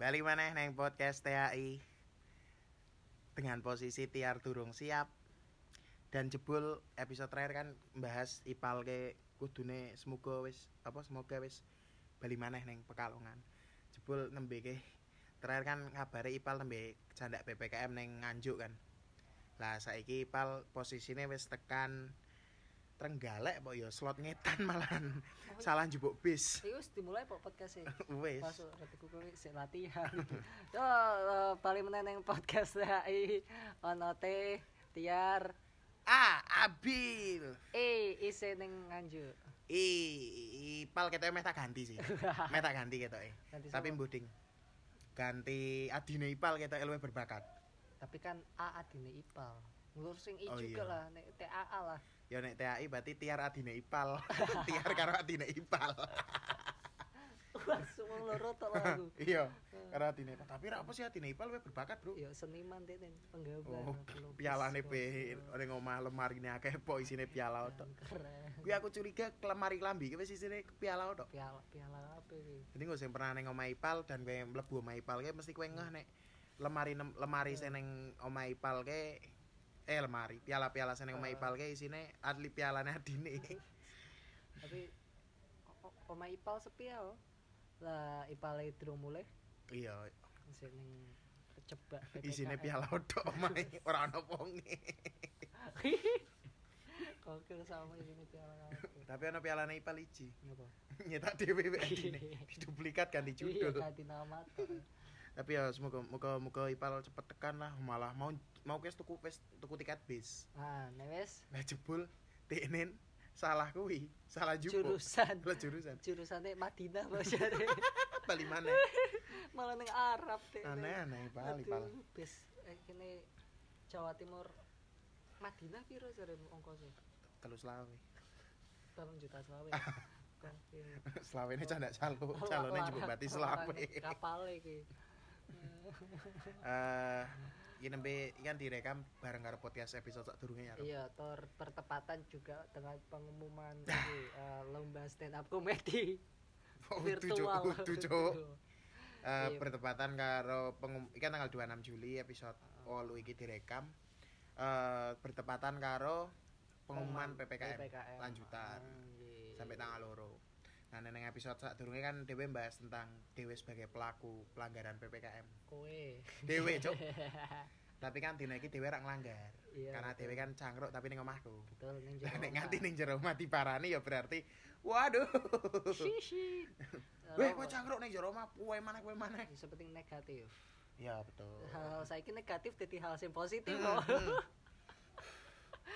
Balik maneh neng podcast THI dengan posisi tiar durung siap dan jebul episode terakhir kan bahas ipal ke kudune semoga wis apa semoga wis bali maneh neng pekalongan jebul nembe ke terakhir kan ngabari ipal nembe canda PPKM neng nganjuk kan lah saiki ipal posisinya wis tekan Trenggalek kok ya slot ngetan malahan Oh, iya. salah jebuk bis Serius dimulai po podcast sih. wes Masuk retiku kuwi sik latihan. Yo eh, paling meneneng podcast AI ono T Tiar ah abil E ise ning Nganjuk. I, Ipal ketoke meh tak ganti sih. meh tak ganti ketoke. Ganti Tapi sapa? mbuding. Ganti adine Ipal ketoke luwih berbakat. Tapi kan A adine Ipal. Ngulur sing I Oh, iya. juga lah, nek TAA lah. Ya nek TAI berarti tiar adine Ipal. tiar karo adine Ipal. Wah, semua loro tok lah aku. iya, karo adine Ipal. Tapi ra apa sih adine Ipal luwih berbakat, Bro. Yo seniman deh nih penggambar. Oh, pelukis, pialane kok. pe ning omah lemari ne akeh po isine piala tok. Keren. Kuwi aku curiga ke lemari klambi kuwi wis isine piala tok. Piala piala apa iki? Jadi gue sing pernah neng omah Ipal dan gue mlebu omah Ipal gue mesti gue ngeh nek lemari nem- lemari sing neng omah Ipal gue eh lemari piala-piala sing neng omah Ipal gue isine atli pialane adine. Tapi o- o- omah Ipal sepi ya. oh. Lah Ipale durung mulai Iya, sing ning kecebak isine PPKM. piala odok omah e, ora ono ponge. Kokil sama isine piala kabeh. Tapi ono pialane Ipal iji. Ngapa? Nyetak dhewe wek adine. Diduplikat ganti Iya judul. ganti nama tok. Tapi ya semoga moga moga Ipal cepet tekan lah malah mau mau kes tuku wis tuku tiket bis. Nah, Ah, nek wis Lah jebul tenen salah kuwi, salah jupuk. jurusan Lah jurusan. jurusane Madinah maksudnya Bali mana? malah ning Arab deh. Aneh-aneh Bali pal. Aduh, Bis eh, kene Jawa Timur Madinah piro jare ongkose? Telu selawe. Tolong juta selawe. Kokil. Selawe ini canda Oh, calo, calone Larang- juga berarti larang selawe. Kapale iki. Eh, ini nembe ini kan direkam bareng karo podcast episode sak durunge ya. Rob. Iya, tor pertepatan juga dengan pengumuman ini, eh, lomba stand up comedy Oh, tujuh, virtual. Gitu. tujuh, Cuk. Tujuh. Eh, Iya. bertepatan karo pengum ini kan tanggal 26 Juli episode 8 iki direkam. Eh, bertepatan karo pengumuman PPKM, lanjutan Ah, iya. sampai tanggal loro. Nah, neng episode sak durunge kan dhewe bahas tentang dhewe sebagai pelaku pelanggaran PPKM. kowe. Dhewe, Cuk. tapi kan dina iki dhewe rak nglanggar. Iya, Karena betul. dhewe kan cangkruk tapi ning omahku. Betul ning Lah, jero Nek omah. nganti ning jero omah diparani ya berarti waduh. Shishi. Weh, kowe cangkruk ning jero omah, kowe maneh kowe maneh. Seperti negatif. Ya betul. Hal saiki negatif jadi hal sing positif Hmm, oh. kok. hmm.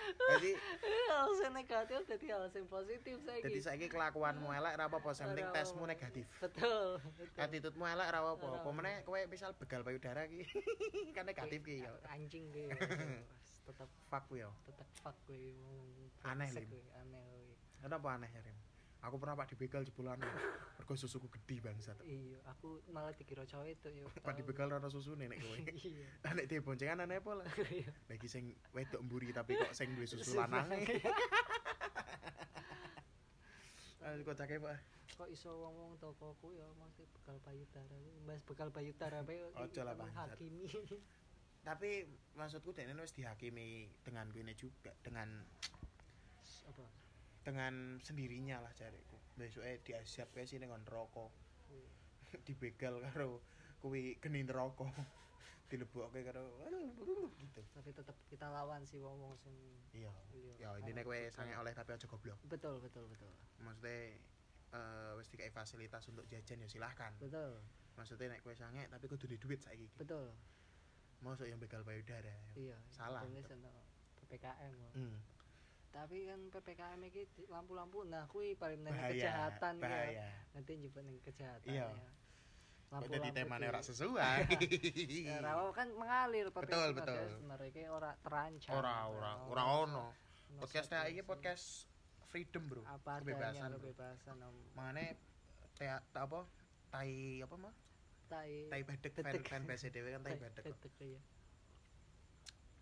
Jadi Hal sing negatif jadi hal sing positif jadi saiki. saiki kelakuanmu elek ra apa-apa, sing penting Ora tesmu apa-apa. negatif. Betul. betul. Attitude-mu elek ra apa-apa. Ora Apa meneh kowe misal begal payudara ki kan negatif ki ya. Anjing ki. Tetep Fuck ku ya. tetep fuck kuwi wong Aneh, brengsek Lim. kuwi, aneh kuwi Kenapa aneh ya, Rim? Aku pernah pak dibegal jebolan. Mergo susuku gede bangsat. iya aku malah dikira cowok itu yo Pak dibegal ora susune nek kowe. iya Lah nek dhewe boncengan aneh apa lah. Lagi sing wedok mburi tapi kok sing duwe susu lanang. Aduh kocake, Pak. kok iso wong-wong tokoku ya mesti bekal payudara kuwi. Mas bekal payudara apa yo Ojo lah, bangsat. hakimi Tapi maksudku dene wis dihakimi dengan kuine juga dengan apa dengan sendirinya lah jariku. Besoke diasiap kae sini ngon rokok. Kuwi. Dibegal karo kuwi geni rokok. Dilebokke karo aduh, gitu. tapi tetep kita lawan si wong-wong sing Iya. Iya. Ya intine kowe sange oleh tapi aja goblok. betul betul betul Maksudnya eh wis dikai fasilitas untuk jajan ya silahkan betul maksudnya nek kowe sange tapi kudu duwe duit saiki iki. betul Mosok yang begal payudara. iya Salah. ini seneng PPKM kok. Hmm. tapi kan PPKM iki di- lampu-lampu nah kuwi paling meneng Bahaya, kejahatan ya. bahaya. nanti njupuk ning kejahatan Iya. ya Kok dadi temane di- ora sesuai. Ya, rawa kan mengalir PPKM Betul, betul. mereka ora terancam Ora ora ora ono. Podcast THI iki sih. podcast freedom, Bro. apa kebebasan. kebebasan kebebasan om Mangane ta apa? Tai apa mah? tai Tai badek fan Bedek. fan base dhewe kan tai tai badek. kok. bedek ya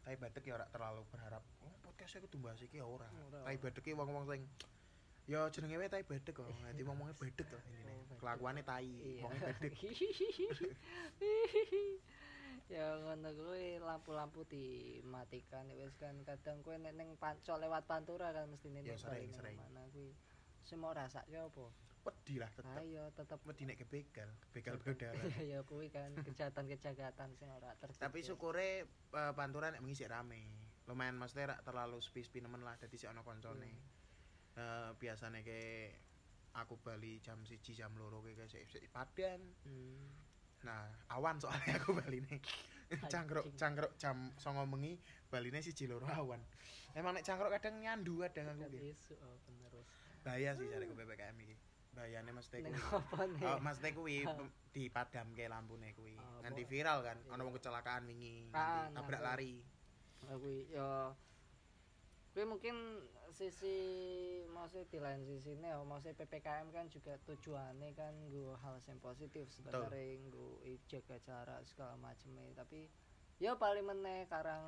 Tai badek ya ora terlalu berharap. Oh, podcast kudu bahas iki ya ora. Ora, Tai ora. badek ki wong-wong sing Ya jenenge wae tai bedek kok. Dadi ngomongnya bedek lah ini. Oh, bedek. Kelakuane tai, wonge bedek. ya ngono kuwi lampu-lampu dimatikan wis kan kadang kowe nek ning pancol lewat pantura kan mesti ning Ya, sering, paling sering. mana kuwi semua rasake apa Wedi lah tetep. ayo tetep Wedi nek kebegal, begal berdarah. ya kuwi kan kejahatan-kejahatan sing ora terjadi Tapi syukure eh, pantura nek mengisi rame. Lumayan maksudnya rak terlalu sepi-sepi nemen lah dadi sik ana koncone. Eh biasane ke aku bali jam siji jam loro ke sik sik padan. Hmm. Nah, awan soalnya aku baline. cangkruk Anjing. cangkruk jam songo bengi baline siji loro awan. Emang nek cangkruk kadang nyandu kadang aku Gak ki. isu, oh, bener wis Bahaya sih cari PPKM iki. Bahayane mesti ning kuwi. apa nih Oh, mas teh kuwi pem- dipadamke lampune kuwi. Oh, Nganti boleh. viral kan, ana Iya. wong kecelakaan wingi, Ah, nganti tabrak nah, lari. Nah, kuwi ya kuwi mungkin sisi maksudnya di lain sisi ini ya maksudnya PPKM kan juga tujuannya kan gue hal yang positif sebenarnya gue jaga jarak segala macamnya tapi ya paling meneh karang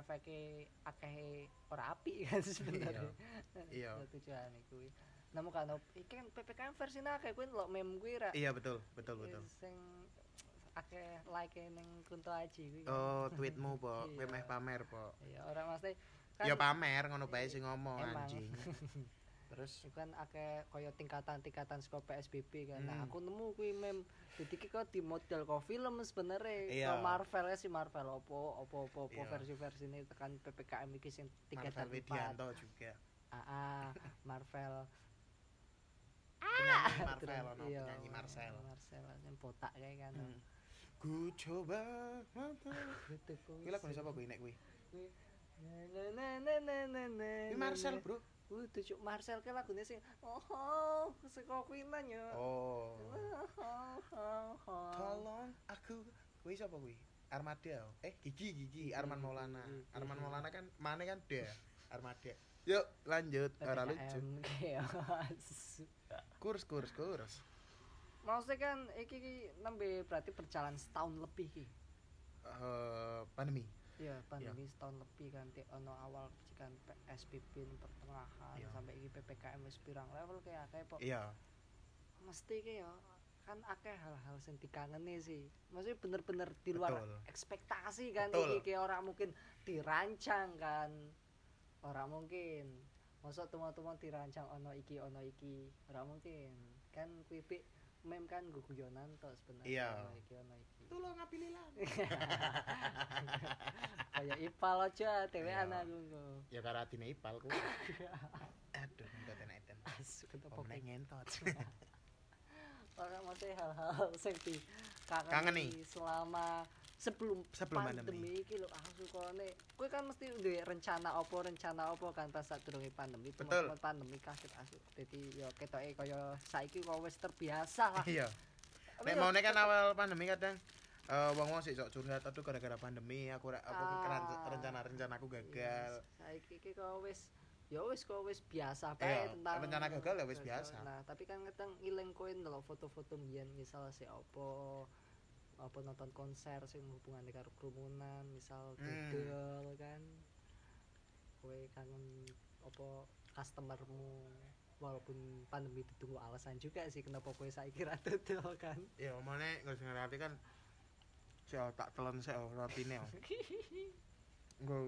efeknya akeh ora api kan sebenarnya Iya. tujuannya kuwi namun kan iki kan PPKM versi akeh kuwi lo meme kuwi ra Iya betul, betul betul. sing akeh like ning Kunto Aji kuwi kan. Oh, tweetmu, Pok. Kowe Iya. meh pamer, Pok. ya orang maksudnya Ya kan pamer ngono bae sing ngomong Emang. anjing. Terus Iku kan akeh kaya tingkatan-tingkatan saka PSBB kan. Nah, Hmm. aku nemu kuwi mem jadi ki kok di model kok film sebenarnya Iya. Kok Marvel ya si Marvel opo opo opo, opo Iya. versi-versi ini tekan PPKM iki sing 3 Marvel dan 4. Widianto juga. Aa, Ah, Marvel. Ah, Penyanyi Marvel Ah! Terus- ono iya, penyanyi Marcel. Marcel sing botak kae kan. Hmm. Ku coba mata. Gitu kuwi. Kuwi lagu sapa kuwi nek kuwi? Kuwi- Na na na na na na. Kuwi na, Marcel, na. Bro. Kuwi tujuk Marcel ke lagune sing oh oh saka kuwi lan yo. Oh. Tolong Tolong aku. Kuwi sapa kuwi? Armada. Eh, Gigi Gigi Arman Maulana. Gigi. Arman Maulana kan mana kan dia Armada. Yuk, lanjut. Ora lucu. PPKM chaos. Kurs kurs kurs. Maksudnya kan iki ki nembe berarti berjalan setahun lebih ki. Eh, pandemi. Ya, pandemi setahun lebih kan ti ono awal kan PSBB ning pertengahan Iya. sampai iki PPKM wis pirang level kayak akeh po. Iya. Mesti ki ya kan akeh hal-hal sing dikangeni sih. Maksudnya bener-bener di luar Betul. ekspektasi kan Betul. iki ki ora mungkin dirancang kan. Ora mungkin. Masa teman-teman dirancang ono iki ono iki. Ora mungkin. Kan kuwi pik mem kan guguyonan to sebenarnya Iya. ono iki ono iki. Tolong apililah. Kaya Ipal aja dhewean Iya. aku engko. Ya karo atine Ipal ku. Aduh, entot enak edan. Asu ketepok. Pemenang ngentot. Ora mesti hal-hal sing di kangen, Kangeni. selama sebelum Sebelum pandemi iki lho aku kone kowe kan mesti duwe rencana opo rencana opo kan pas sadurunge pandemi Betul. teman-teman pandemi kaget asu dadi yo ketoke kaya saiki kok wis terbiasa lah Iya. Nek Tapi yo- maune kan awal pandemi kadang eh wong-wong sik sok curhat aduh gara-gara pandemi aku ra aku Ah. keran- rencana-rencanaku gagal. Iya, saiki iki kok wis ya wis kok wis biasa Iya, bae tentang rencana gagal ya wis biasa. Nah, tapi kan kadang ngiling kowe ndelok foto-foto mbiyen misal si opo apa nonton konser sing hubungane karo kerumunan, misal Hmm. dodol kan. Kowe kangen opo customermu walaupun pandemi ditunggu alasan juga sih kenapa kowe saiki ra dodol kan. Ya omone nggak sing rapi kan sik oh, tak telon sik oh, rapine. oh. Nggo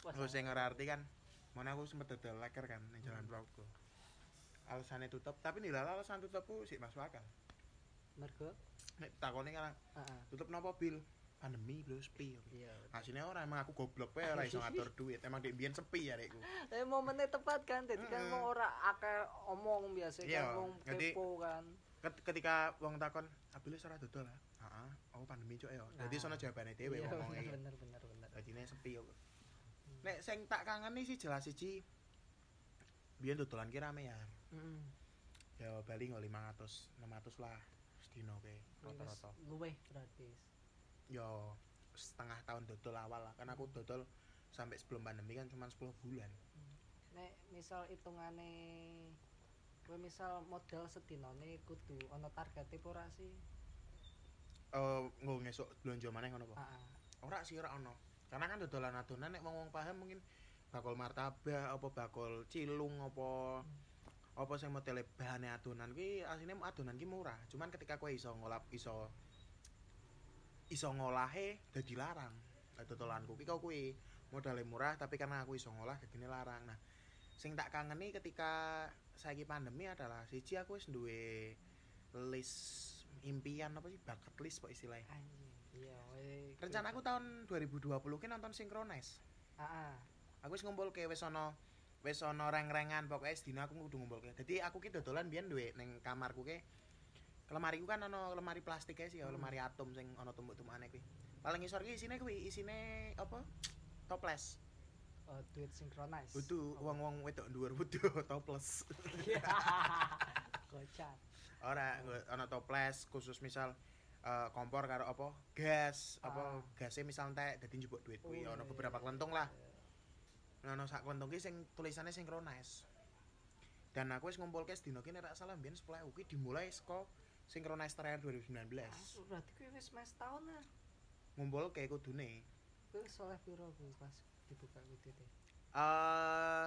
Wah, nggo sing ora arti kan. Mone aku sempet dodol leker kan ning Hmm. jalan Progo. Alasannya tutup, tapi nih lala alasan tutupku sik masuk akal. mergo Nek takone kan heeh. tutup nopo bil? Pandemi bro sepi. oh. Iya. Aslinya orang emang aku goblok wae ora iso ngatur duit. Emang dek biyen sepi ya rekku. Tapi momennya tepat kan, jadi kan Mm-mm. mau ora akeh omong biasa Iya, kan, wong jadi- kepo kan. Ket- ketika wong takon abdul wis ora dodol ah heeh oh pandemi cok ya dadi Nah. sono jawabane dhewe Iya, wong bener, e bener bener bener. dadine sepi yo nek sing tak kangeni sih jelas siji biyen dodolan ki rame ya Heeh. ya Bali nggo 500 600 lah sedino ke rata-rata Luweh gratis. yo setengah tahun dodol awal lah kan aku dodol sampai sebelum pandemi kan cuma 10 bulan Nek misal hitungane kowe misal modal sedinane kudu ana targete apa ora sih? eh nggo ngesuk belanja maneh ngono apa Heeh. ora sih ora ono karena kan dodolan adonan nek wong-wong paham mungkin bakul martabak apa bakul cilung apa apa sing modele bahane adonan kuwi asline adonan ki murah cuman ketika kowe iso ngolah iso iso ngolahe dadi larang Eh, dodolanku ki kau kuwi modalnya murah tapi karena aku iso ngolah dadine larang nah sing tak kangeni ketika saiki pandemi adalah siji aku wis duwe list impian apa sih bucket list kok istilahnya Anjing. ah, Iya, weh. rencanaku tahun 2020 ki nonton Synchronize Heeh. aku wis ngumpulke wis ana wis ana reng-rengan pokoke sedina aku kudu ngumpulke. Dadi aku ki dodolan biyen duwe ning kamarku ki lemariku kan ana lemari plastik ae sih ya, Hmm. lemari atom sing ana tumbuk-tumbukane kuwi. Paling ngisor ki isine kuwi, isine apa? toples. Oh, duit sinkronis. Wudu wong-wong wedok dhuwur wudu toples. Kocak. Ora nggo- ana toples khusus misal eh, kompor karo apa gas apa Ah. gasnya misal entek dadi njupuk duit kuwi ana beberapa kelentung lah Nono sak kelentung ki sing tulisannya synchronize. Dan aku wis ngumpulke sedina ki nek ra salah mbiyen 10.000 ki dimulai saka synchronize terakhir 2019. Asu, berarti kuwi wis mes tahun lah. Ngumpulke kudune. Kuwi wis oleh piro kuwi pas dibuka kuwi dite. Eh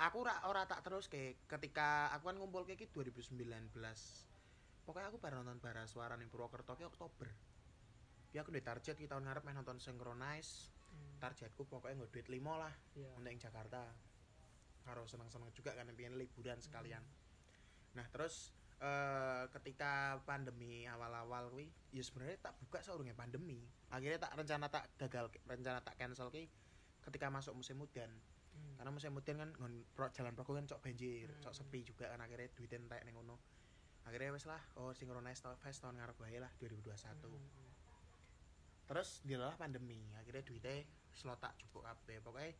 aku ora ora tak teruske ketika aku kan ngumpulke ki 2019. Pokoknya aku baru nonton Baraswara ning Purwokerto ki Oktober. Ya aku duwe target ki tahun ngarep meh nonton synchronize. Targetku pokoknya nggo duit 5 lah Hmm. Iya. untuk yang Jakarta. Karo seneng-seneng juga kan pengen liburan sekalian. Nah terus eh, ketika pandemi awal-awal kuwi ya sebenarnya tak buka saurunge pandemi. Akhirnya tak rencana tak gagal rencana tak cancel ki ketika masuk musim hujan. Hmm. Karena musim hujan kan ngon pro, jalan progo kan cok banjir, Hmm. cok sepi juga kan akhirnya duit entek ning ngono. Akhirnya wes lah, oh synchronize ta- fest tahun ngarep wae lah 2021. Hmm. Terus dilalah pandemi, akhirnya duitnya selotak cukup kabeh. Pokoknya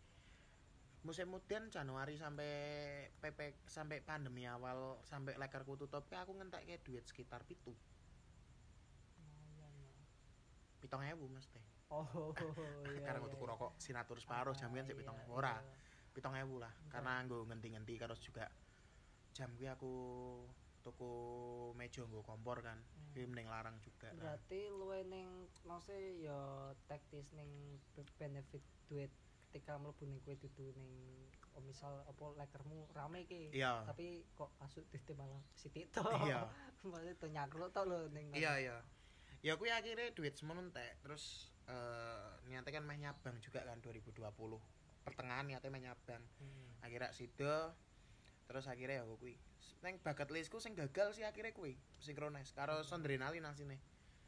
musim mudian Januari sampai PP sampai pandemi awal sampai lekarku tutup aku ngentek duit sekitar pitu hmm, Lumayan lah. pitong ewu mas teh Oh, iya. karena iya, aku tuku iya. rokok sinatur separuh Ah, jaminan sih pitong iya, ewu ora iya. pitong ewu lah Enggak. karena gue ngenti-ngenti terus juga jam gue aku tuku meja gue kompor kan gue Hmm. mending larang juga lah. Berarti luwe ning maksudnya ya taktis ning be- benefit duit ketika mlebu ning kowe dudu ning oh, misal apa lekermu rame ki. iya Tapi kok asuk duit malah sithik to. iya Maksudnya to nyakruk to lho ning. iya iya ya aku akhirnya duit semono entek terus eh niatnya kan meh nyabang juga kan 2020 pertengahan niatnya meh nyabang Hmm. akhirnya sido terus akhirnya ya aku kui neng bucket listku sing gagal sih akhirnya kui sinkronis karo sondrenalin nang sini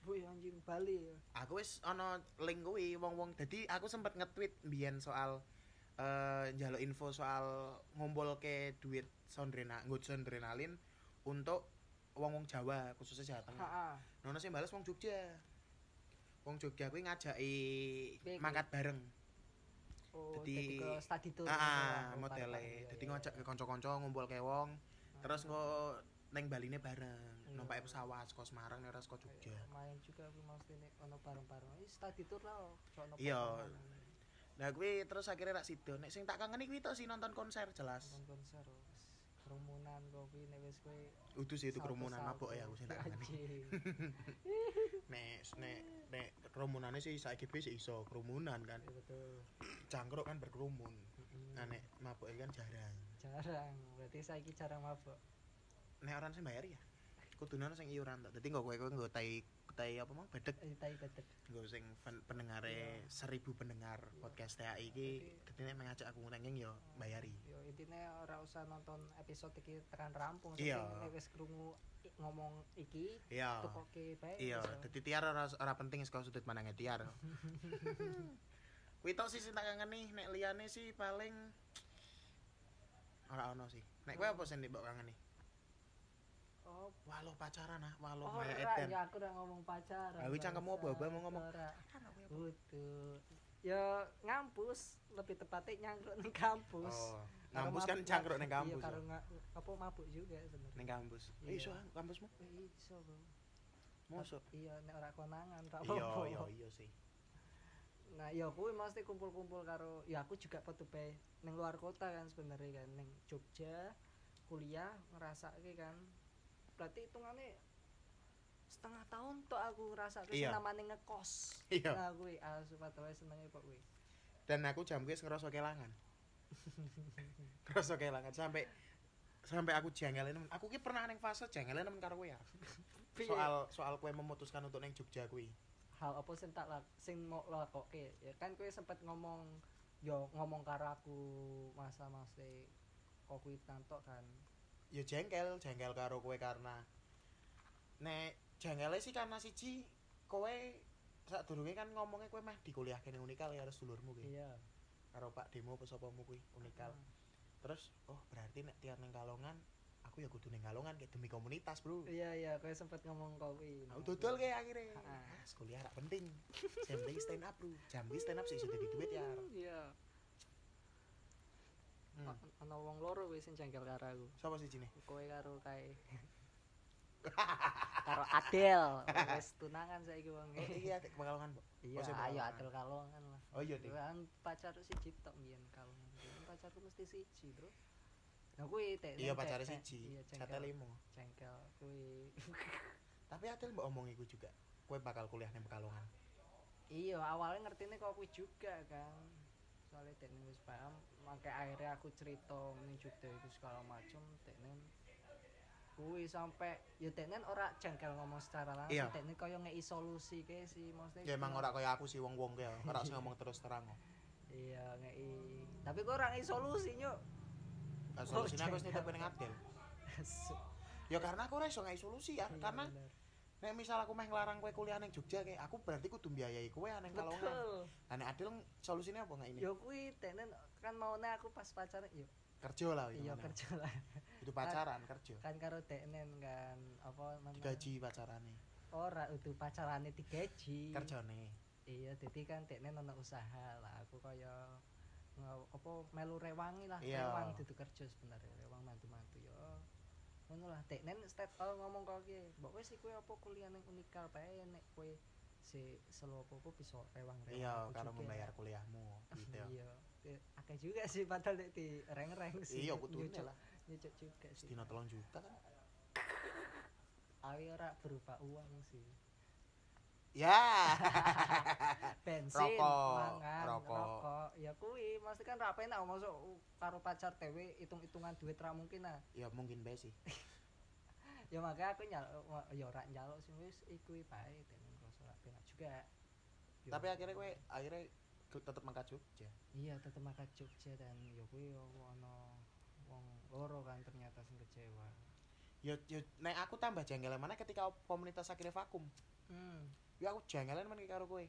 Bu ya anjing Bali ya. aku wis ono link kui wong wong jadi aku sempat nge-tweet mbiyen soal eh njaluk info soal ngumpul ke duit sondrena nggo sondrenalin untuk wong wong Jawa khususnya Jawa Tengah Ha. nono sing bales wong Jogja wong Jogja kui ngajaki Piye kui? mangkat bareng Oh, Jadi- jadi ke study tour. ah Oh, bareng-bareng. modele Iya, dadi iya, ngajak iya. ke kanca-kanca ngumpul ke wong Ah. terus nggo neng Bali ne bareng Iya. numpak pesawat saka Semarang ora saka Jogja Iya, Main juga aku maksudnya ono bareng-bareng. Ini study tour lah. oh. cok ono Iya. potongan. nah kuwi terus akhirnya rak sido nek sing tak kangen kuwi tok sih nonton konser jelas nonton konser wes. kerumunan kopi nek wis kowe udu sih itu salto-salto. kerumunan mabok ya aku sing tak kangen Anjing. nek nek nek kerumunane sih saiki wis iso kerumunan kan Iya, betul cangkruk kan berkerumun Mm-mm. nah nek mabok kan jarang jarang berarti saiki jarang mabok nek orang sing bayar ya kudune ana sing iuran tok dadi nggo kowe kowe nggo tai tai apa mau bedek Eh, tai bedek nggo sing pen- pendengaré Iya. seribu pendengar Iya. podcast THI iki Jadi- dadi nek mengajak aku nengeng yo bayari yo intine ora usah nonton episode iki tekan rampung Iya. Saking nek wis krungu i- ngomong iki iya tukoke bae iya wis, oh. yo. dadi tiar ora ora penting saka sudut pandangnya tiar kuwi tok sih sing tak kangeni nek liyane sih paling ora ono sih nek kowe apa sing mbok kangeni oh walau pacaran ah walau Oh, maya ora, eden ya aku ora ngomong pacaran. Ah, kuwi cangkemmu bangsat. apa-apa mau ngomong. Ora. Butuh. Ya ngampus, lebih tepatnya nyangkruk ning kampus. oh Karo kampus kan mabuk- cangkruk ning iya, kampus karo yo. nga- apa mabuk juga sebenarnya ning kampus Iya. iso ah, kampusmu Eh, iso bro mosok iya nek ora konangan tak iya apa-apa. iya iya sih nah ya kuwi mesti kumpul-kumpul karo ya aku juga patu bae ning luar kota kan sebenarnya kan ning Jogja kuliah ngerasake kan berarti hitungannya setengah tahun tuh aku ngerasake Iya. sing namane ngekos iya nah kuwi ah, asu patu bae senenge kok kuwi dan aku jam kuis ngerasa kelangan ngerasa kelangan sampai sampai aku jengkel nemen. Aku ki pernah neng fase jengkel nemen karo kowe ya. Piye? Soal soal kowe memutuskan untuk neng Jogja kuwi. hal apa sing tak lak sing mau lakoke ya kan kowe sempet ngomong yo ngomong karo aku masa-masa kok kuwi tantok kan Ya jengkel, jengkel karo kowe karena nek jengkelnya sih karena siji kowe saat kan ngomongnya kowe mah di kuliah kene unikal ya harus dulurmu ki. iya Hmm. Karo Pak Demo apa sopamu kuwi unikal. Terus oh berarti nek tiap neng Kalongan aku ya kudu neng Kalongan kayak demi komunitas, Bro. iya iya kowe sempet ngomong kok kuwi Aku Nah, dodol kayak akhirnya. Heeh. Ah, kuliah rak penting. Sing penting stand up, Bro. Jam iki stand up sih iso dadi duit ya. Hmm, iya Hmm. A- ana wong loro wis sing jengkel karo aku Sapa sih jine? kowe karo kae karo Adel wis tunangan saiki wong Oh, iki adik Pekalongan, Mbok. iya sing ayo tunangan. Adel kalongan lah Oh iya, Dik. Bang pacarku siji tok mbiyen kalungan. Biyen Pacarku mesti siji, Bro. Nah kuwi tek. Iya tek- pacare tek- siji, Iya cate jengkel. limo. Jengkel kuwi. Tapi Adel mbok omong iku juga. Kowe bakal kuliah nang Pekalongan. Iya, awalnya ngertine kok kuwi juga kan. Soale tekne wis paham, mangke akhirnya aku cerita ning Jogja iku segala macem tekne kuwi sampe ya tekne ora jengkel ngomong secara langsung, Iya. tekne koyo ngei solusi ke sih maksudnya. Ya emang ora kaya aku sih wong-wong kae. Ora sing ngomong terus terang. Nah, kok. Iya, ngei. Tapi kok ora ngei solusi nyuk. Nah, Oh, Solusine aku wis jangan. nitip ning Adel. Ya karena aku ora iso ngai solusi ya. Karena Iya, bener. nek misal aku meh nglarang kowe kuliah nang Jogja kayak aku berarti kudu mbiayai kowe nang Pekalongan. betul. Lah nek Adel solusine apa nggak ini? Yo kuwi tenen kan maune aku pas pacaran yo Kerja lah itu. iya kerja lah Itu pacaran kerja. kan karo tenen kan apa namanya? Digaji pacarane. Ora utuh pacarane digaji. Kerjane. Iya dadi kan tenen ono usaha lah aku kaya nge- apa melu rewangi lah Iya. rewang dudu kerja sebenarnya rewang mantu-mantu yo ngono lah tenen state all eh, ngomong kok iki mbok wis iku apa kuliah ning unikal bae nek kowe si selo apa bisa rewang Iya, karo membayar kuliahmu gitu ya. Ah, iya Eh, akeh juga sih padahal nek di reng-reng sih Iya, kudune Nyucuk- lah. nyucuk juga sih Sedina 3 juta kan. awi ora berupa uang sih Ya. bensin Rokok, mangan rokok. rokok ya kuwi mesti kan ra penak masuk karo pacar dewe hitung-hitungan duit ra mungkin nah ya mungkin bae sih. ya makanya aku nyal wa- ya ora njaluk sih wis iku bae tenan rasa ra penak juga Ya, Tapi akhirnya gue akhirnya gue tetap mangkat Jogja. iya tetep makan Jogja dan ya kuwi ya ono wong loro kan ternyata sing kecewa Yo yo nek aku tambah jengkel mana ketika komunitas akhirnya vakum. hmm Ya aku jengkelan men karo kowe.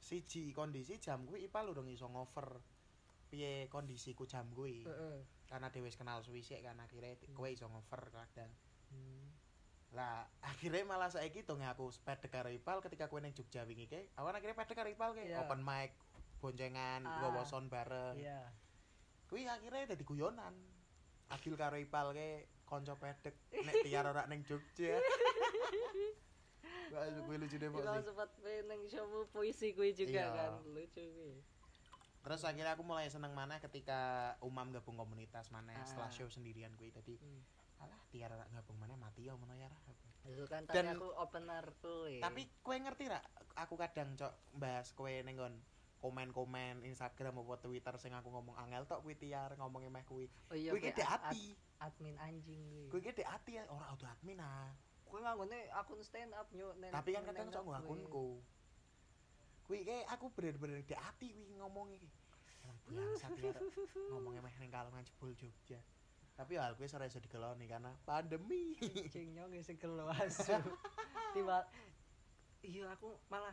Siji kondisi jam gue IPA lu dong iso ngover. Piye kondisiku jam gue. heeh Karena dhewe wis kenal suwi sik kan akhirnya Hmm. kowe iso ngover kadang. Hmm. Lah, akhirnya malah saiki dong aku sepeda karo Ipal ketika kowe ning Jogja wingi ke. Awan akhirnya pede karo Ipal ke. Iya. Open mic, boncengan, Ah. wawasan bareng. iya kuwi akhirnya dadi guyonan Agil karo Ipal ke konco pedek nek tiar ora ning Jogja Wah, kuwi lucu deh Pok, Kita sih. sempat neng showmu puisi kuwi juga Iya. kan lucu kuwi Terus akhirnya aku mulai seneng mana ketika Umam gabung komunitas mana Ah. setelah show sendirian kuwi tadi Hmm. alah tiar ora gabung mana mati ya ngono ya Ra." Itu kan tadi Dan- aku opener kuwi. Tapi kue ngerti ra aku kadang cok bahas kue ning nggon komen-komen Instagram apa Twitter sing aku ngomong angel tok kuwi tiar ngomongnya meh kuwi. oh iya, Kuwi ki kuwi dek ad- ati. ad- admin anjing Kuwi kuwi. ki dek ati ya. ora udah admin ah. Kuwi nganggone akun stand up yo nen. tapi kan nen- kadang nen- sok nggo kuwi. akunku kuwi kayak aku bener-bener di hati kuwi ngomong iki emang biasa ya ngomongnya meh ning kalongan jebol Jogja tapi ya, hal kuwi sore iso digeloni karena pandemi Anjing yo nggih segel asu. Tiba Iya aku malah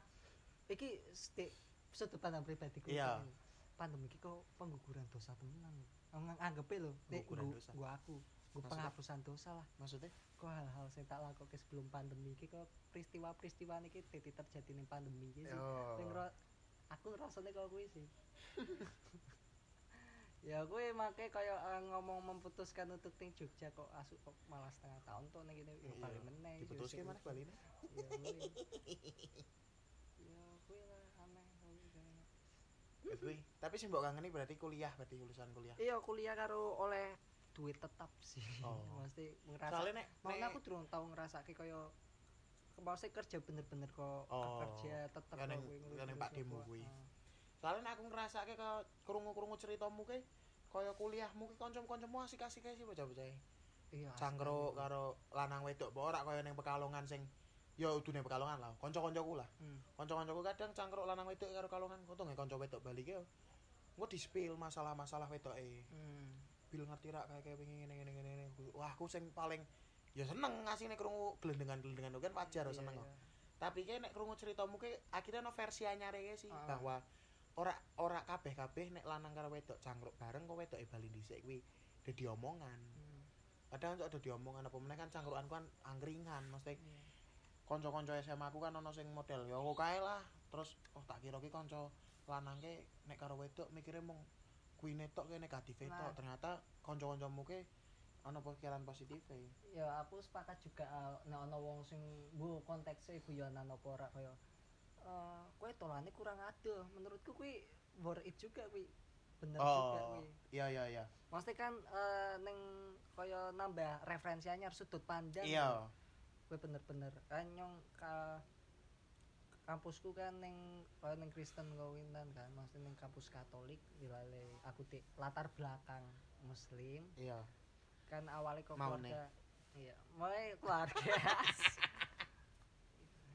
iki stik sudut pandang pribadiku. Iya. kan. Pandemi iki kok pengguguran dosa tenan. Ngang anggepe lho, nek Pengguguran nggo dosa. nggo aku, nggo Maksudnya? penghapusan dosa lah. maksudnya Kok hal-hal sing tak lakoke sebelum pandemi iki kok peristiwa-peristiwa niki titik terjadi ning pandemi iki sih. Sing yo ro- aku ngerasane kaya kuwi sih. ya kuwi make kaya eh, ngomong memutuskan untuk ning Jogja kok asu kok malah setengah tahun tuh ning kene ya Iya, bali meneh. diputuske mana bali ini Ya kuwi. Ya kuwi lah aneh kuwi kayaknya. Eh, kuwi tapi sing mbok kangeni berarti kuliah berarti lulusan kuliah Iya kuliah karo oleh duit tetap sih. Oh. Mesti ngerasa. soalnya nek Mau nek aku durung tau ngrasake kaya Maksudnya kerja bener-bener kok Oh. kerja tetep Kan yang- kok kuwi kan yang ngurus-ngurus Pak Demo apa. kuwi. Ah. soalnya nek aku ngerasa kayak kerungu-kerungu ceritamu kayak kaya kuliahmu ki kanca-kancamu asik-asik ae sih bocah-bocah iya asik cangkruk banget. karo lanang wedok apa ora kaya ning Pekalongan sing ya udune Pekalongan lah kanca-kancaku lah Hmm. kanca-kancaku kadang cangkruk lanang wedok karo kalongan untung ya kanca wedok bali ki gue di spill masalah-masalah wedoke Hmm. bil ngerti rak kayak kayak pengen ngene ngene ngene wah aku sing paling ya seneng ngasih nih kerungu gelendengan gelendengan kan wajar Iya, seneng kok iya. tapi kayak nek kerungu ceritamu kayak akhirnya no versi anyare kayak sih Ah. bahwa ora ora kabeh kabeh nek lanang karo wedok cangkruk bareng kok wedok e bali dhisik kuwi dadi omongan Hmm, kadang cok dadi omongan apa meneh kan cangkrukan kan angkringan mesti iya. kanca-kanca SMA aku kan ono sing model ya kok kae lah terus oh tak kira ki kanca lanang ke nek karo wedok mikire mung kuwi netok ke negatif Nah. tok ternyata kanca-kancamu ke ono pikiran positif e ya aku sepakat juga ah, nek ana wong sing bu konteksnya guyonan apa ora kaya eh kowe tolane kurang adoh menurutku kuwi worth it juga kuwi bener juga oh kuwi iya iya iya maksudnya kan eh, neng kaya nambah referensi anyar sudut pandang iya gue bener-bener kan nyong ka kampusku kan neng kaya neng Kristen kawinan kan maksudnya neng kampus Katolik dilale aku di latar belakang Muslim iya kan awalnya kok Mau keluarga iya mulai keluarga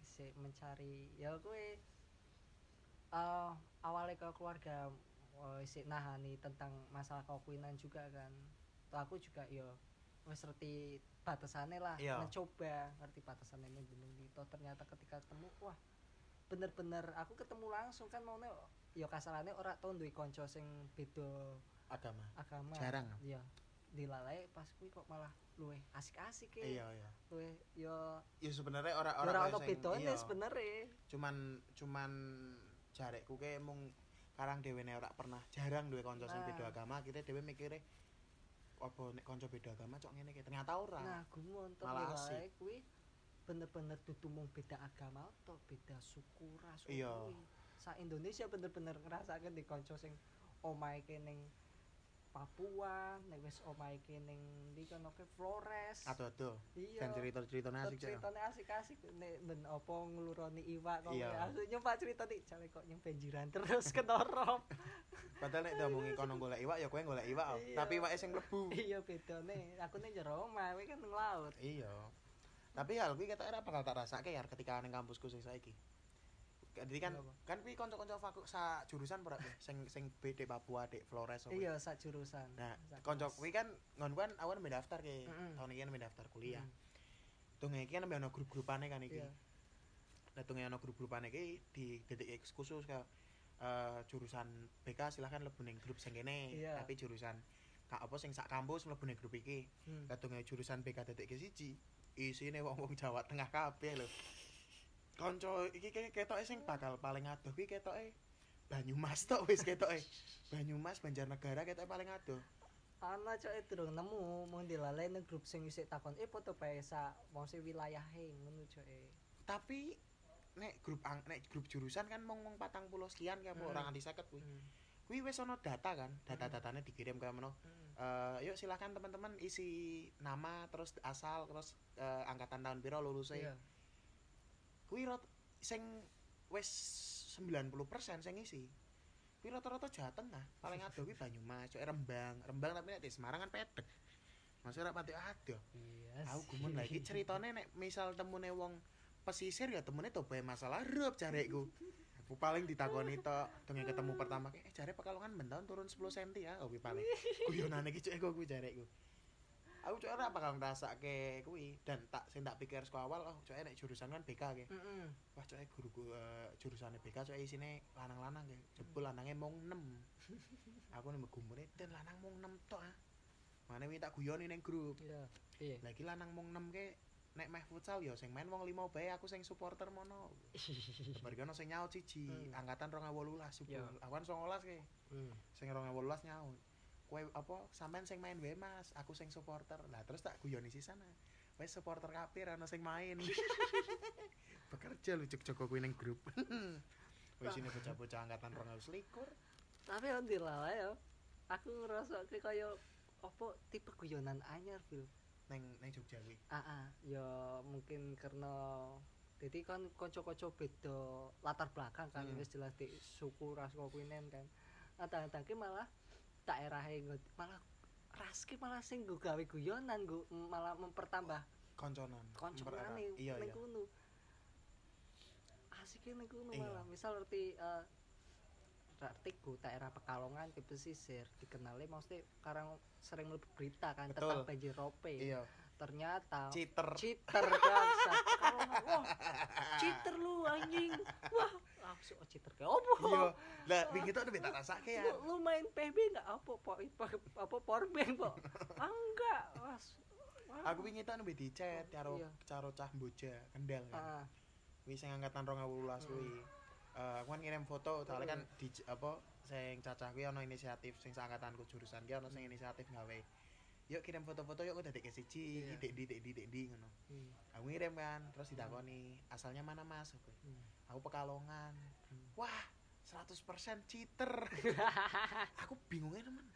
si mencari ya gue eh awalnya ke keluarga eh, si nahani tentang masalah kekuinan juga kan Tuh aku juga yo wis ngerti batasannya lah Iya. mencoba ngerti batasannya ini belum gitu ternyata ketika ketemu wah bener-bener aku ketemu langsung kan mau yo kasarannya ora tau duwe kanca sing beda agama agama Jarang. iya dilalai pas kuwi kok malah luwe asik-asik e iya iya luwe yo ya sebenarnya ora ora ora ono kaya sing- bedone iya. sebenere cuman cuman jarekku ke mung karang dhewe nek ora pernah jarang duwe kanca sing Nah. beda agama akhirnya dhewe mikire apa nek kanca beda agama cok ngene ki ternyata ora nah gumun to Malah asik. dilalai kuwi bener-bener dudu mung beda agama to beda suku ras Iya. kuwi. sa Indonesia bener-bener ngerasakan di kanca sing omahe ke ning Papua, nek wis omahe ke ning ndi kono ke Flores. Adoh-adoh. Iya. dan cerita-cerita asik Cok. ceritanya asik-asik nek ben apa ngeluroni iwak kok Iya. asik nyoba cerita nih cale kok nyempe jiran terus ketorop Padahal nek diomongi kono golek iwak ya kowe golek iwak, oh. Iya. tapi iwake sing mlebu. iya bedane aku nih jero omah kowe kan nang laut Iya. Tapi hal kuwi ketok ora bakal tak rasake ya ketika ning kampusku sing saiki. Jadi kan Kenapa? kan kuwi kanca-kanca faku sa jurusan ora kuwi? sing sing B dek Papua dek Flores apa? iya sak jurusan Nah, Sak kanca kelas. kuwi kan ngon kan awan mendaftar ke Mm-mm. tahun iki kan mendaftar kuliah. Mm. Tunge iki kan ono grup-grupane kan iki. iya Nah, tunge ono grup-grupane iki di detik khusus ke eh, jurusan BK silahkan lebu ning grup sing kene, Iya. tapi jurusan kak apa sing sak kampus mlebu ning grup iki. Hmm. kadunge jurusan BK titik ke siji isine wong-wong Jawa Tengah kabeh lho kanca iki ke- ketoke sing bakal paling adoh kuwi ketoke Banyumas tok wis ketoke Banyumas Banjarnegara ketoke paling adoh ana cok durung nemu mung dilalain nang grup sing isih takon eh foto bae sak wong sing wilayahe ngono cok e tapi nek grup ang nek grup jurusan kan mung mung 40 sekian ki apa Hmm. orang nganti 50 kuwi kuwi wis ana data kan data-datane dikirim ke meno Hmm. Eh, yuk silahkan teman-teman isi nama terus asal terus eh, angkatan tahun piro lulusnya iya kuwi rot sing wis 90% sing isi kuwi rata-rata Jawa Tengah paling adoh kuwi Banyumas cok Rembang Rembang tapi nek di Semarang kan pedek masih ora pati adoh iya aku sih. gumun lagi ceritane nek misal temune wong pesisir ya temune tobae masalah rup jarekku aku paling ditakoni tok dongeng ketemu pertama kayak, eh jare Pekalongan bentahun turun 10 cm ya aku paling guyonane iki cok aku jarekku aku cok ora bakal ngrasake kuwi dan tak sing tak pikir saka awal oh cok nek jurusan kan BK ke Heeh. Wah cok guru eh, jurusan BK cok isine lanang-lanang ya. Jebul lanange mung 6. Aku nek gumune den lanang mung 6 tok ah. Mane wingi tak guyoni ning grup. iya iya Lagi lanang mung 6 ke nek meh futsal ya sing main wong 5 bae aku sing supporter mono. Bareng ono sing nyaut siji, Hmm. angkatan 2018 Iya. jebul. Aku kan 19 ke. Hmm. Sing 2018 nyaut. Kowe apa sampean sing main wae Mas, aku sing supporter. Lah terus tak guyoni sisana. Wes supporter kabeh ra ono sing main. Bekerja lu jek-jek kuwi ning grup. Wis ini bocah-bocah angkatan 2021. tapi alhamdulillah ya aku ngerasa kayak kaya apa tipe guyonan anyar bil ning ning Jogja kuwi. aa Ah, ya mungkin karena jadi kan konco-konco beda latar belakang kan Hmm. wis jelas di suku ras kokuinen kan ada-ada malah daerah nggo malah raski malah sing nggo gawe guyonan nggo malah mempertambah konconan mempererat. koncoane iya iya ning kono. Asike ning kono Iya. malah misal arti eh arti go daerah Pekalongan ke pesisir dikenali maksudnya karang sering mlebu berita kan Betul. tentang banjir rope. iya Ternyata cheater cheater bangsa Pekalongan, wah cheater lu anjing wah langsung oh, cheater kayak opo iya lah wingi tok tak rasake ya lu, lu main PB nggak apa po, po- apa powerbank po ah, enggak mas Wah. aku wingi tok nembe dicet karo Iya. karo cah Mboja Kendal kan. Ah, Kuwi sing angkatan 2018 kuwi. Eh, aku kan ngirim foto, soalnya kan Iya. di apa sing cacah kuwi ana inisiatif sing seangkatanku jurusan ki ana Hmm. sing inisiatif gawe. Yuk kirim foto-foto yuk aku dadekke siji, Iya. iki dek di dek di dek di ngono. hmm, Aku ngirim kan, terus ditakoni, asalnya mana Mas? Aku, hmm. aku Pekalongan. Hmm. Wah, 100% cheater. aku bingungnya temen.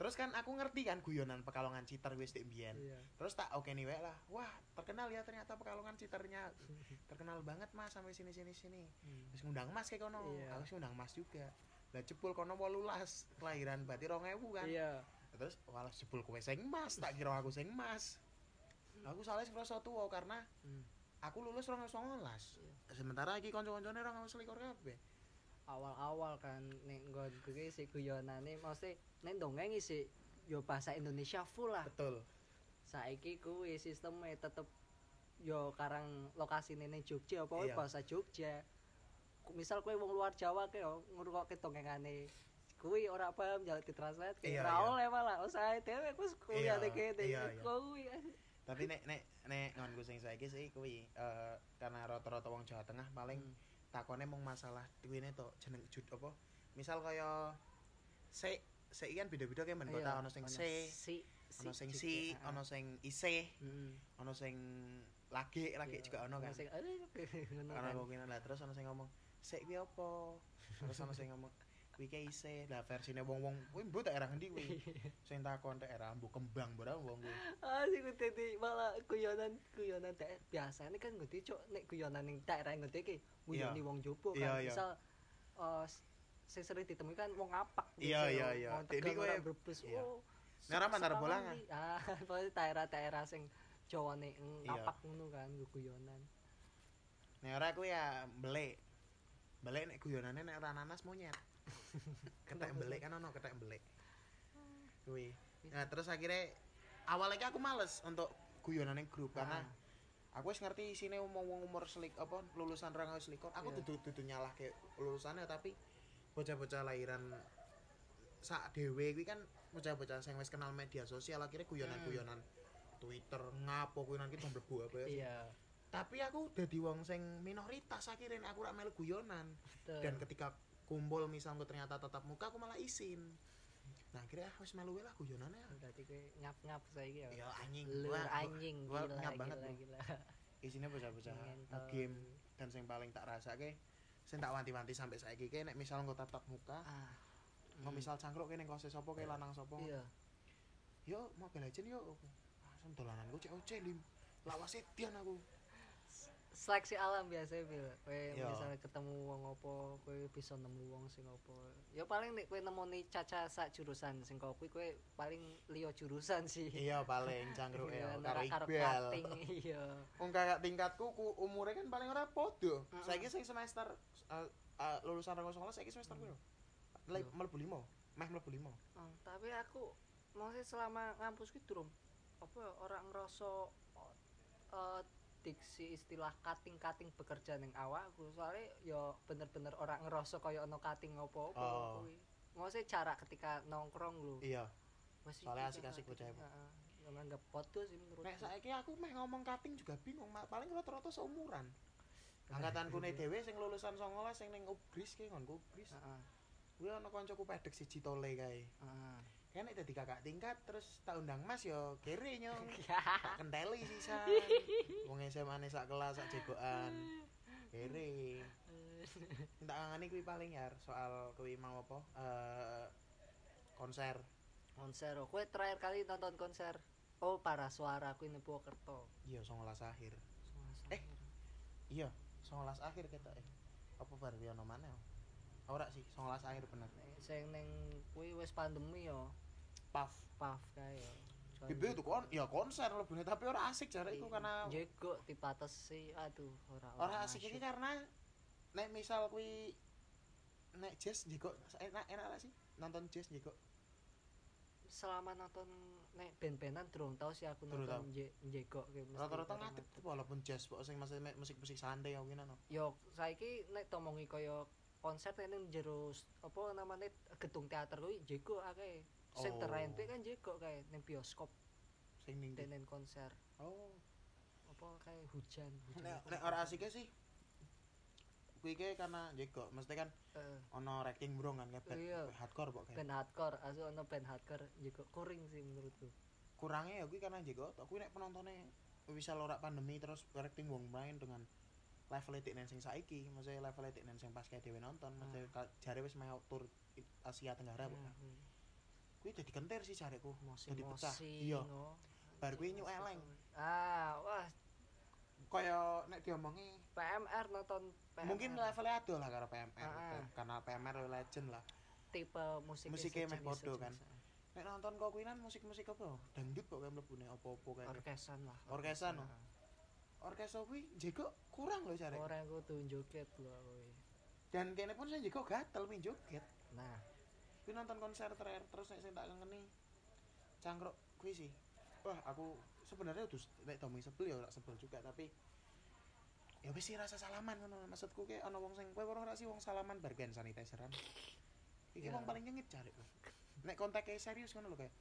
Terus kan aku ngerti kan guyonan Pekalongan cheater wis dek mbiyen. Iya. terus tak oke nih lah wah terkenal ya ternyata pekalongan citernya terkenal banget mas sampai sini sini sini Hmm. terus ngundang mas kayak kono Iya. aku sih ngundang mas juga lah jebul kono wolulas kelahiran berarti rong ewu kan iya terus walah jebul kue sing mas tak kira aku sing mas aku soalnya sing rasa tua karena Hmm. aku lulus rong ewu songolas sementara iki konco-koncone rong ewu selikur kabeh awal-awal kan nek nggon kuwi si guyonane mesti nek dongeng isi yo bahasa Indonesia full lah betul saiki kuwi sistemnya tetep yo karang lokasi nene Jogja apa wae Iya. bahasa Jogja Ku- misal kowe wong luar Jawa ke yo ngrungokke dongengane kuwi ora paham jalan ditranslate Iya, iya, ora iya. oleh malah usahe dhewe wis kuwi Iya, ate kene iya, iya. kuwi tapi nek nek nek ngonku sing saiki sih kuwi eh, karena rata-rata wong Jawa Tengah paling Hmm. takone mung masalah kuwine to jeneng jud apa misal kaya se se kan beda-beda kayak men kota Iya, ono sing ono se si ono sing juga, si ah. ono sing ise Mm, ono sing lagi lagi iya. juga ono kan sing "Eh, ngono ono kan." kemungkinan lah terus ono sing ngomong se kuwi apa terus ono sing ngomong kuwi kayak ise lah versine wong-wong kuwi mbok daerah ngendi kuwi sing takon daerah mbok kembang mbok wong kuwi Ah sing dadi malah guyonan guyonan daer biasane kan ngerti cuk nek guyonan ning daerah ngerti iki nguyoni wong jopo Iya, kan iya. misal eh, s- sing sering ditemui kan wong ngapak Iya, iya, iya. Wong Jadi Tegal kowe- orang Brebes. iya. Oh. Ngarep Mandar sepawang Bolangan. iki. Ah, pokoknya daerah-daerah sing Jawane Iya. ngapak ngono kan nggo guyonan. Nek ora aku ya belik. Belik nek guyonane nek ora nanas monyet. ketek belik kan ono ketek belik. Kuwi. Nah, terus akhirnya awalnya aku males untuk guyonan yang grup karena Hmm. aku wis ngerti isine wong-wong umur selik apa lulusan rong ewu selikur aku Iya. dudu dudu nyalah ke lulusannya tapi bocah-bocah lahiran sak dhewe kuwi kan bocah-bocah sing wis kenal media sosial akhirnya guyonan-guyonan Twitter ngapo kuwi nanti mlebu apa ya sih. Iya. tapi aku udah di wong sing minoritas akhirnya aku rak melu guyonan betul. dan ketika kumpul misalnya ternyata tatap muka aku malah izin nah akhirnya ah, wis melu wae lah guyonan ya berarti kowe nyap-nyap saiki ya. ya anjing Lur gua anjing gua gila nyap gila banget, Bu. gila. isinya bocah-bocah Ngentot. game dan sing paling tak rasa ke sing tak wanti-wanti sampai saiki ke nek misal engko tatap muka Ah. mau misal cangkruk ke ning kose sapa ke lanang sapa Iya. yo mobile legend yo Ah, langsung dolanan gue COC "Oh, lim lawase dian aku seleksi alam biasa bil kowe Yo. misalnya ketemu wong opo kowe bisa nemu wong sing opo ya paling nek kowe nemoni caca sak jurusan sing kau kuwi kowe paling liya jurusan sih iya paling cangkruk Iya, ya nek karo karo Iqbal cutting iya Wong kakak tingkatku ku umure kan paling ora podo. Mm-mm. Saiki sing semester eh, eh, lulusan 2019 saiki semester piro? Le- Yo. Mlebu 5. Meh mlebu 5. Oh, tapi aku maksudnya selama ngampus ki durung apa ya ora ngerasa eh, diksi istilah cutting-cutting bekerja ning awakku soalnya ya bener-bener ora ngerasa kaya ono cutting opo-opo Oh. kuwi maksudnya cara ketika nongkrong lho Iya. Wes iki Soalnya kan asik-asik kating. bocah, Bu. Heeh. Yang nganggap foto sih menurut. Nek saiki aku meh ngomong cutting juga bingung, ma- paling rata-rata seumuran. Angkatanku ne dhewe sing lulusan 19 sing ning Ubris ki nggonku Ubris. Heeh. Kuwi ana kancaku pedek siji tole kae. heeh. Kan nek dadi kakak tingkat terus tak undang Mas yo kere nyong. Tak kenteli sisan. Wong SMA ne sak kelas sak jegokan. Kere. Minta kangane kuwi paling ya soal kuwi mau apa? Eh konser. konser. oh. Kowe terakhir kali nonton konser Oh, para suara aku ini Purwokerto. Iya 19 akhir. Suara- Eh. Iya, 19 akhir ketok eh. Apa bar kuwi ono maneh? ora sih 19 akhir bener Nek sing ning kuwi wis pandemi yo, paf paf kae yo. bibi itu kon ya konser lebih tapi ora asik jare iku karena jekok dipatesi aduh ora ora asik masuk. iki karena nek misal kuwi nek jazz juga enak enak lah sih nonton jazz juga selama nonton nek band-bandan durung tau sih aku Durung nonton je- jekok kayak mesti rata-rata karena ngadep ngadeg. walaupun jazz kok sing masih musik-musik santai ya ngene no yo saiki nek tomongi kaya konser nek ning jero s- apa namanya gedung teater kuwi jekok akeh sing Oh. terentik kan jekok kae ning bioskop sing ning dan ning konser oh apa kayak hujan hujan nek apa. nek ora e? asiknya sih kuwi ke karena juga mesti kan Eh, ono racking bro kan kayak band- Iya. kayak hardcore kok kayak band hardcore asu ono band hardcore jekok kuring sih menurutku kurangnya ya kuwi karena juga tok kuwi nek penontonnya bisa lorak pandemi terus racking wong main dengan level etik nang sing saiki maksudnya level etik nang sing pas kayak dhewe nonton maksudnya ka- jare wis mau tur i- Asia Tenggara kok Hmm, kuwi jadi kentir sih jareku mosi jadi pecah mosi iya Bar kuwi nyuk eleng. ah wah kaya nek diomongi PMR nonton PMR. mungkin levelnya ado lah karo PMR Ah. gitu. karena PMR legend lah tipe musik Musiknya meh podo kan. nek nonton kok kuwi kan musik-musik apa dangdut kok kayak mlebune apa-apa kayak orkesan lah Nah, Orkesan, no? orkestra kuwi jego kurang loh Heeh. jare orang aku tuh joget loh woy. dan kene pun saya jego gatel min joget nah kuwi nonton konser terakhir terus nek sing tak kengeni cangkruk kuwi sih wah aku sebenarnya udah nek domi sebel ya ora sebel juga tapi ya wis sih rasa salaman ngono maksudku ki ana wong sing kowe ora ora sih wong salaman bar gen sanitizeran iki Ya. wong paling nyengit jare ku. nek kontaknya serius ngono lho kayak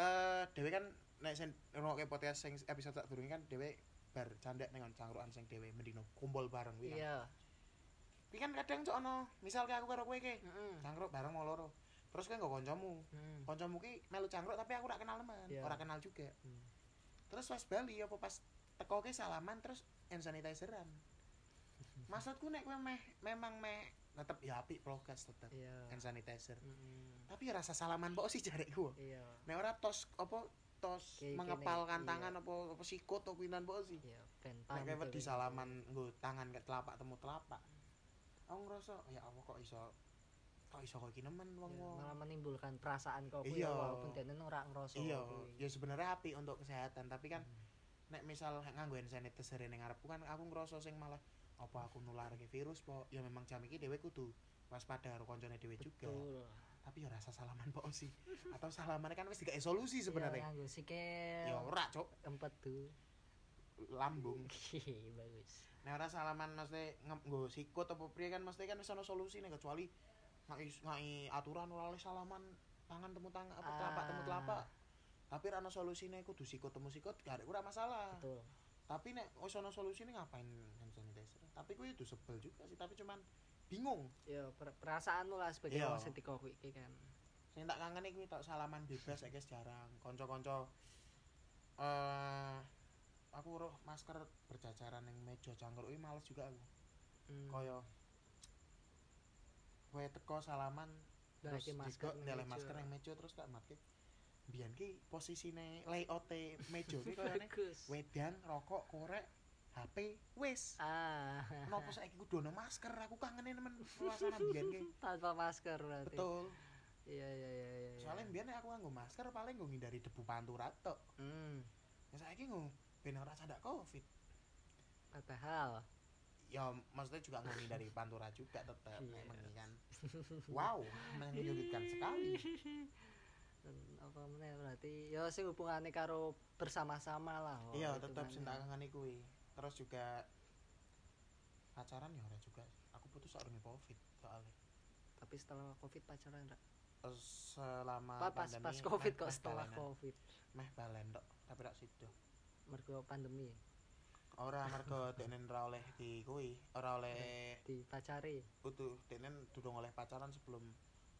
eh dhewe kan nek sen ngrungokke podcast sing episode tak durunge kan dhewe bar candek ning cangkrukan sing dhewe mendino kumpul bareng kuwi kan. iya Kuwi kan kadang cok ono misal kayak aku karo kowe ki Heeh. cangkruk bareng mau loro terus kowe nggo kancamu Hmm. kancamu ki melu cangkruk tapi aku ora kenal teman Iya. ora kenal juga Hmm. terus pas Bali apa pas teko ki salaman terus hand sanitizeran maksudku nek kowe meh memang meh tetep ya apik progres tetep iya hand sanitizer Heeh. tapi ya rasa salaman kok sih jarek gua iya nek ora tos apa tos Kayak mengepalkan gini, tangan apa apa sikut apa kuinan kok sih iya band nek kowe punk wedi tuh. salaman nggo tangan ke telapak temu telapak aku ngerasa ya Allah kok iso kok iso kok iki nemen Iya, wong-wong malah menimbulkan perasaan kok Iya. iya. walaupun dene ora ngrasa iya kuwi. Mm. ya sebenarnya api untuk kesehatan tapi kan nek misal nganggo hand sanitizer ning ngarepku kan aku ngerasa sing malah apa aku nularke virus po ya memang jam iki dhewe kudu waspada karo koncone dhewe juga betul tapi ya rasa salaman po sih atau salaman kan wis digawe solusi Iya, sebenarnya nganggo ya sikil ora cok empat tuh lambung bagus nek ora salaman mesti nge- nggo sikut apa priye kan mesti kan wis ana solusine kecuali ngai ngai aturan ora oleh salaman tangan temu tangan apa telapak temu Ah. telapak tapi ora ana solusine kudu sikut temu sikut gak ora masalah betul tapi nek wis ana solusine ngapain hand sanitizer tapi kuwi itu sebel juga sih tapi cuman bingung ya per- perasaan lu lah sebagai Iya. wong sing dikowi iki kan sing tak kangen iki tak salaman bebas ya guys jarang kanca-kanca eh aku roh masker berjajaran yang meja cangkruk iki males juga aku Hmm. kaya kowe teko salaman terus Lagi juga masker ning ndeleh meja. masker yang meja terus tak matke biyen ki posisine layout meja ki kayane bagus wedang rokok korek HP wis ah Kenapa saiki kudu ono masker? Aku kangen nemen suasana mbiyen ki. tanpa masker berarti Betul. iya iya iya iya Soalnya mbiyen nek aku nganggo masker paling nggo ngindari debu pantura tok. hmm Nek saiki nggo ben ora candak Covid. padahal Ya maksudnya juga nggo ngindari pantura juga tetep Iya. emang iya kan. Wow, menyulitkan sekali. Dan apa meneh berarti ya sing hubungane karo bersama-sama lah oh, Iya, itu tetep mana. sing tak kangen kuwi. Terus juga pacaran ya ora juga. Aku putus sak durunge Covid soalnya. tapi setelah covid pacaran nggak? Terus Selama Pa- pas Ah, pandemi, eh, pas covid meh- kok meh setelah balenan. covid Meh balen tok, tapi rak sido. mergo pandemi ora mergo denen ora oleh di kuwi ora oleh dipacari utuh denen durung oleh pacaran sebelum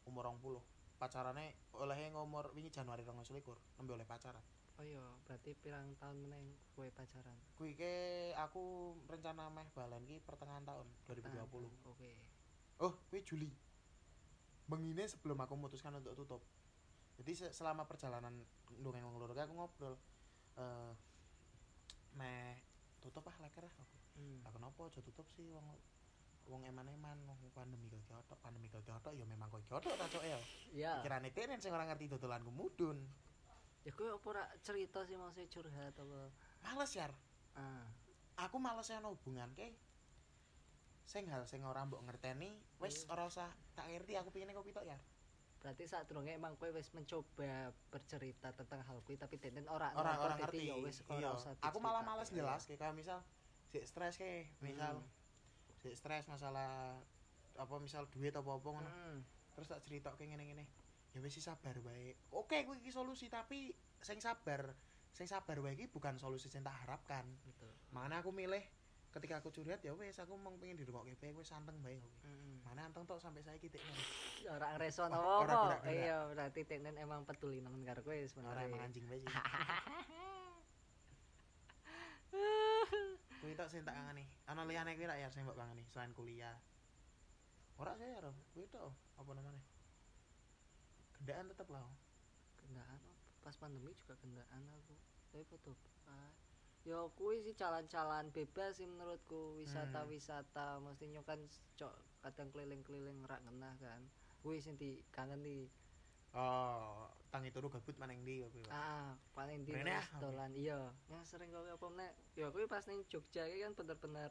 umur 20 pacarane oleh ngomor wingi Januari 2021 nembe oleh pacaran oh iya berarti pirang tahun meneh kowe pacaran kuwi ke aku rencana meh balen ki pertengahan tahun 2020 Ah, oke oh kuwi Juli mengine sebelum aku memutuskan untuk tutup jadi se- selama perjalanan dongeng wong loro ki aku ngobrol eh meh tutup ah leker ah aku Hmm. Lah kenapa aja tutup sih wong wong eman-eman wong pandemi kok kiotok pandemi kok kiotok ya memang kok kiotok ta cok ya Iya. pikirane tenen sing ora ngerti dodolanku mudun Ya kowe apa ora cerita sih maksudnya curhat apa? males yar Ah, aku males ono hubungan ke sing hal sing ora mbok ngerteni wis Iya. ora usah tak ngerti aku pingine kopi tok yar berarti saat durunge emang kowe wis mencoba bercerita tentang hal kuwi tapi tenten ora orang orang ngerti dadi ya wis kok iya ora usah aku malah males diceritakan. jelas kayak misal si stres kayak Hmm. misal si stres masalah apa misal duit apa apa ngono Hmm. terus tak cerita kayak ngene ngene ya wis sih sabar baik oke gue iki solusi tapi sing sabar sing sabar wae iki bukan solusi yang tak harapkan Betul. makanya aku milih ketika aku curhat ya wes aku mau pengen di rumah kayak gue santeng baik Heeh. mana anteng tok sampai saya kita Ora ngreson Ora- apa. ora gerak-gerak. Iya, berarti tenten emang peduli nemen karo kowe orang emang sebenarnya. anjing bae sih kuwi tok sing tak kangeni ana liyane kuwi rak ya sing mbok kangeni selain kuliah ora sih ya kuwi tok apa namanya gendaan tetep lah Gendaan pas pandemi juga gendaan aku. Tapi foto Ya kuwi sih jalan-jalan bebas sih menurutku wisata-wisata mesti nyokan cok kadang keliling-keliling rak ngenah kan. Kuwi sing dikangeni. oh tangi turu gabut maning ndi kuwi Pak? Ah, paling di Rene, mas ah, dolan iya. Yang sering kowe apa meneh? Ya kuwi pas ning Jogja iki kan bener-bener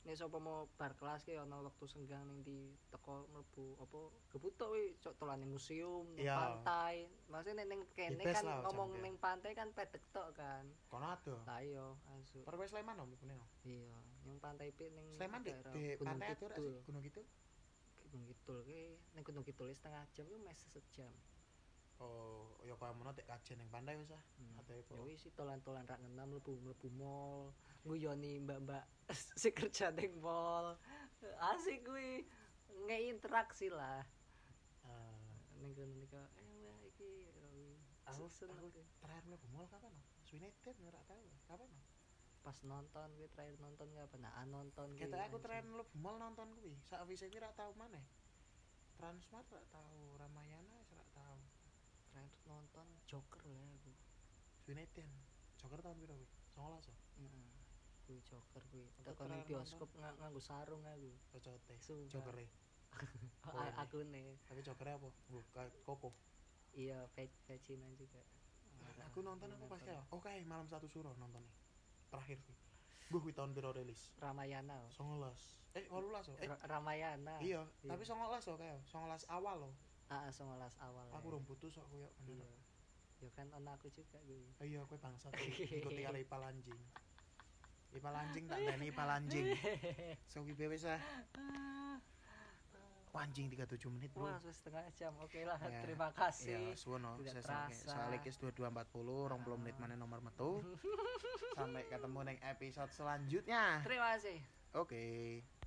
nek sapa mau bar kelas ki ana wektu senggang ning di teko mlebu apa gebutok kuwi cok dolan ning museum, ning Iya. pantai. Maksudnya ning ning kene Bebas kan lah, Oh. ngomong jam, ning pantai kan pedek tok kan. kono ado Lah iya, asu. perwe Sleman om kene om. Iya, ning pantai pi ning Sleman di daerah di Hmm, Gunung pantai ado rak sih Kidul. gunung gitu Gunung Kidul ki ning Gunung Kidul ki setengah jam ki mes sejam. oh ya kaya mono tek kajen ning pantai wis ah Hmm. atau apa Ya wis sih tolan-tolan rak ngena mlebu mlebu mall, nguyoni mbak-mbak si kerja ning mall. Asik kuwi. Ngeinteraksi lah Eh, ning kono nika. Eh wah iki eh, Aku- seneng aku- kuwi. terakhir mlebu mall kapan om suwine tet ora tau kapan om pas nonton kuwi terakhir nonton kapan nah nonton kuwi, Kita Ya, aku anjing. tren mlebu mall nonton kuwi. Sakwise kuwi ra tau maneh. Transmart ra tau, Ramayana wis ra tau. terakhir nonton Joker lah aku. Suneten. Joker tahun piro kuwi? 19 ya? Heeh. Kuwi Joker kuwi. Aku Tekan ning terakhir bioskop nga- nganggo sarung aku. Cocote. Sumpah. Ah, Jokere. Boleh. A- aku nih. Tapi jokere apa? Nggo ka- koko. Iya, pe- pecinan juga. Aku nonton apa pas ya? Oke, malam satu suruh nonton nih. Terakhir kuwi. Gue kuwi tahun piro rilis? Ramayana. oh. 19. Eh, 18 ya? Eh, Ra- Ramayana. iya, Iya. tapi 19 ya kayak. 19 awal loh. Heeh, 19 awal. Aku ya. rong putus kok koyo Iya. ngono. Ya kan ana aku juga gue. Iya, kowe bangsa ngikuti karo ipal anjing. Ipal anjing tak tani ipal anjing. Sogi wis ah. Wah, anjing 37 menit, Bro. Wah, sudah setengah jam. Oke lah, Ya. terima Ya, kasih. suwun no. Tidak Sesengke. terasa. Soale iki wis 22.40, 20 menit meneh nomor metu. Sampai ketemu ning episode selanjutnya. Terima kasih. Oke.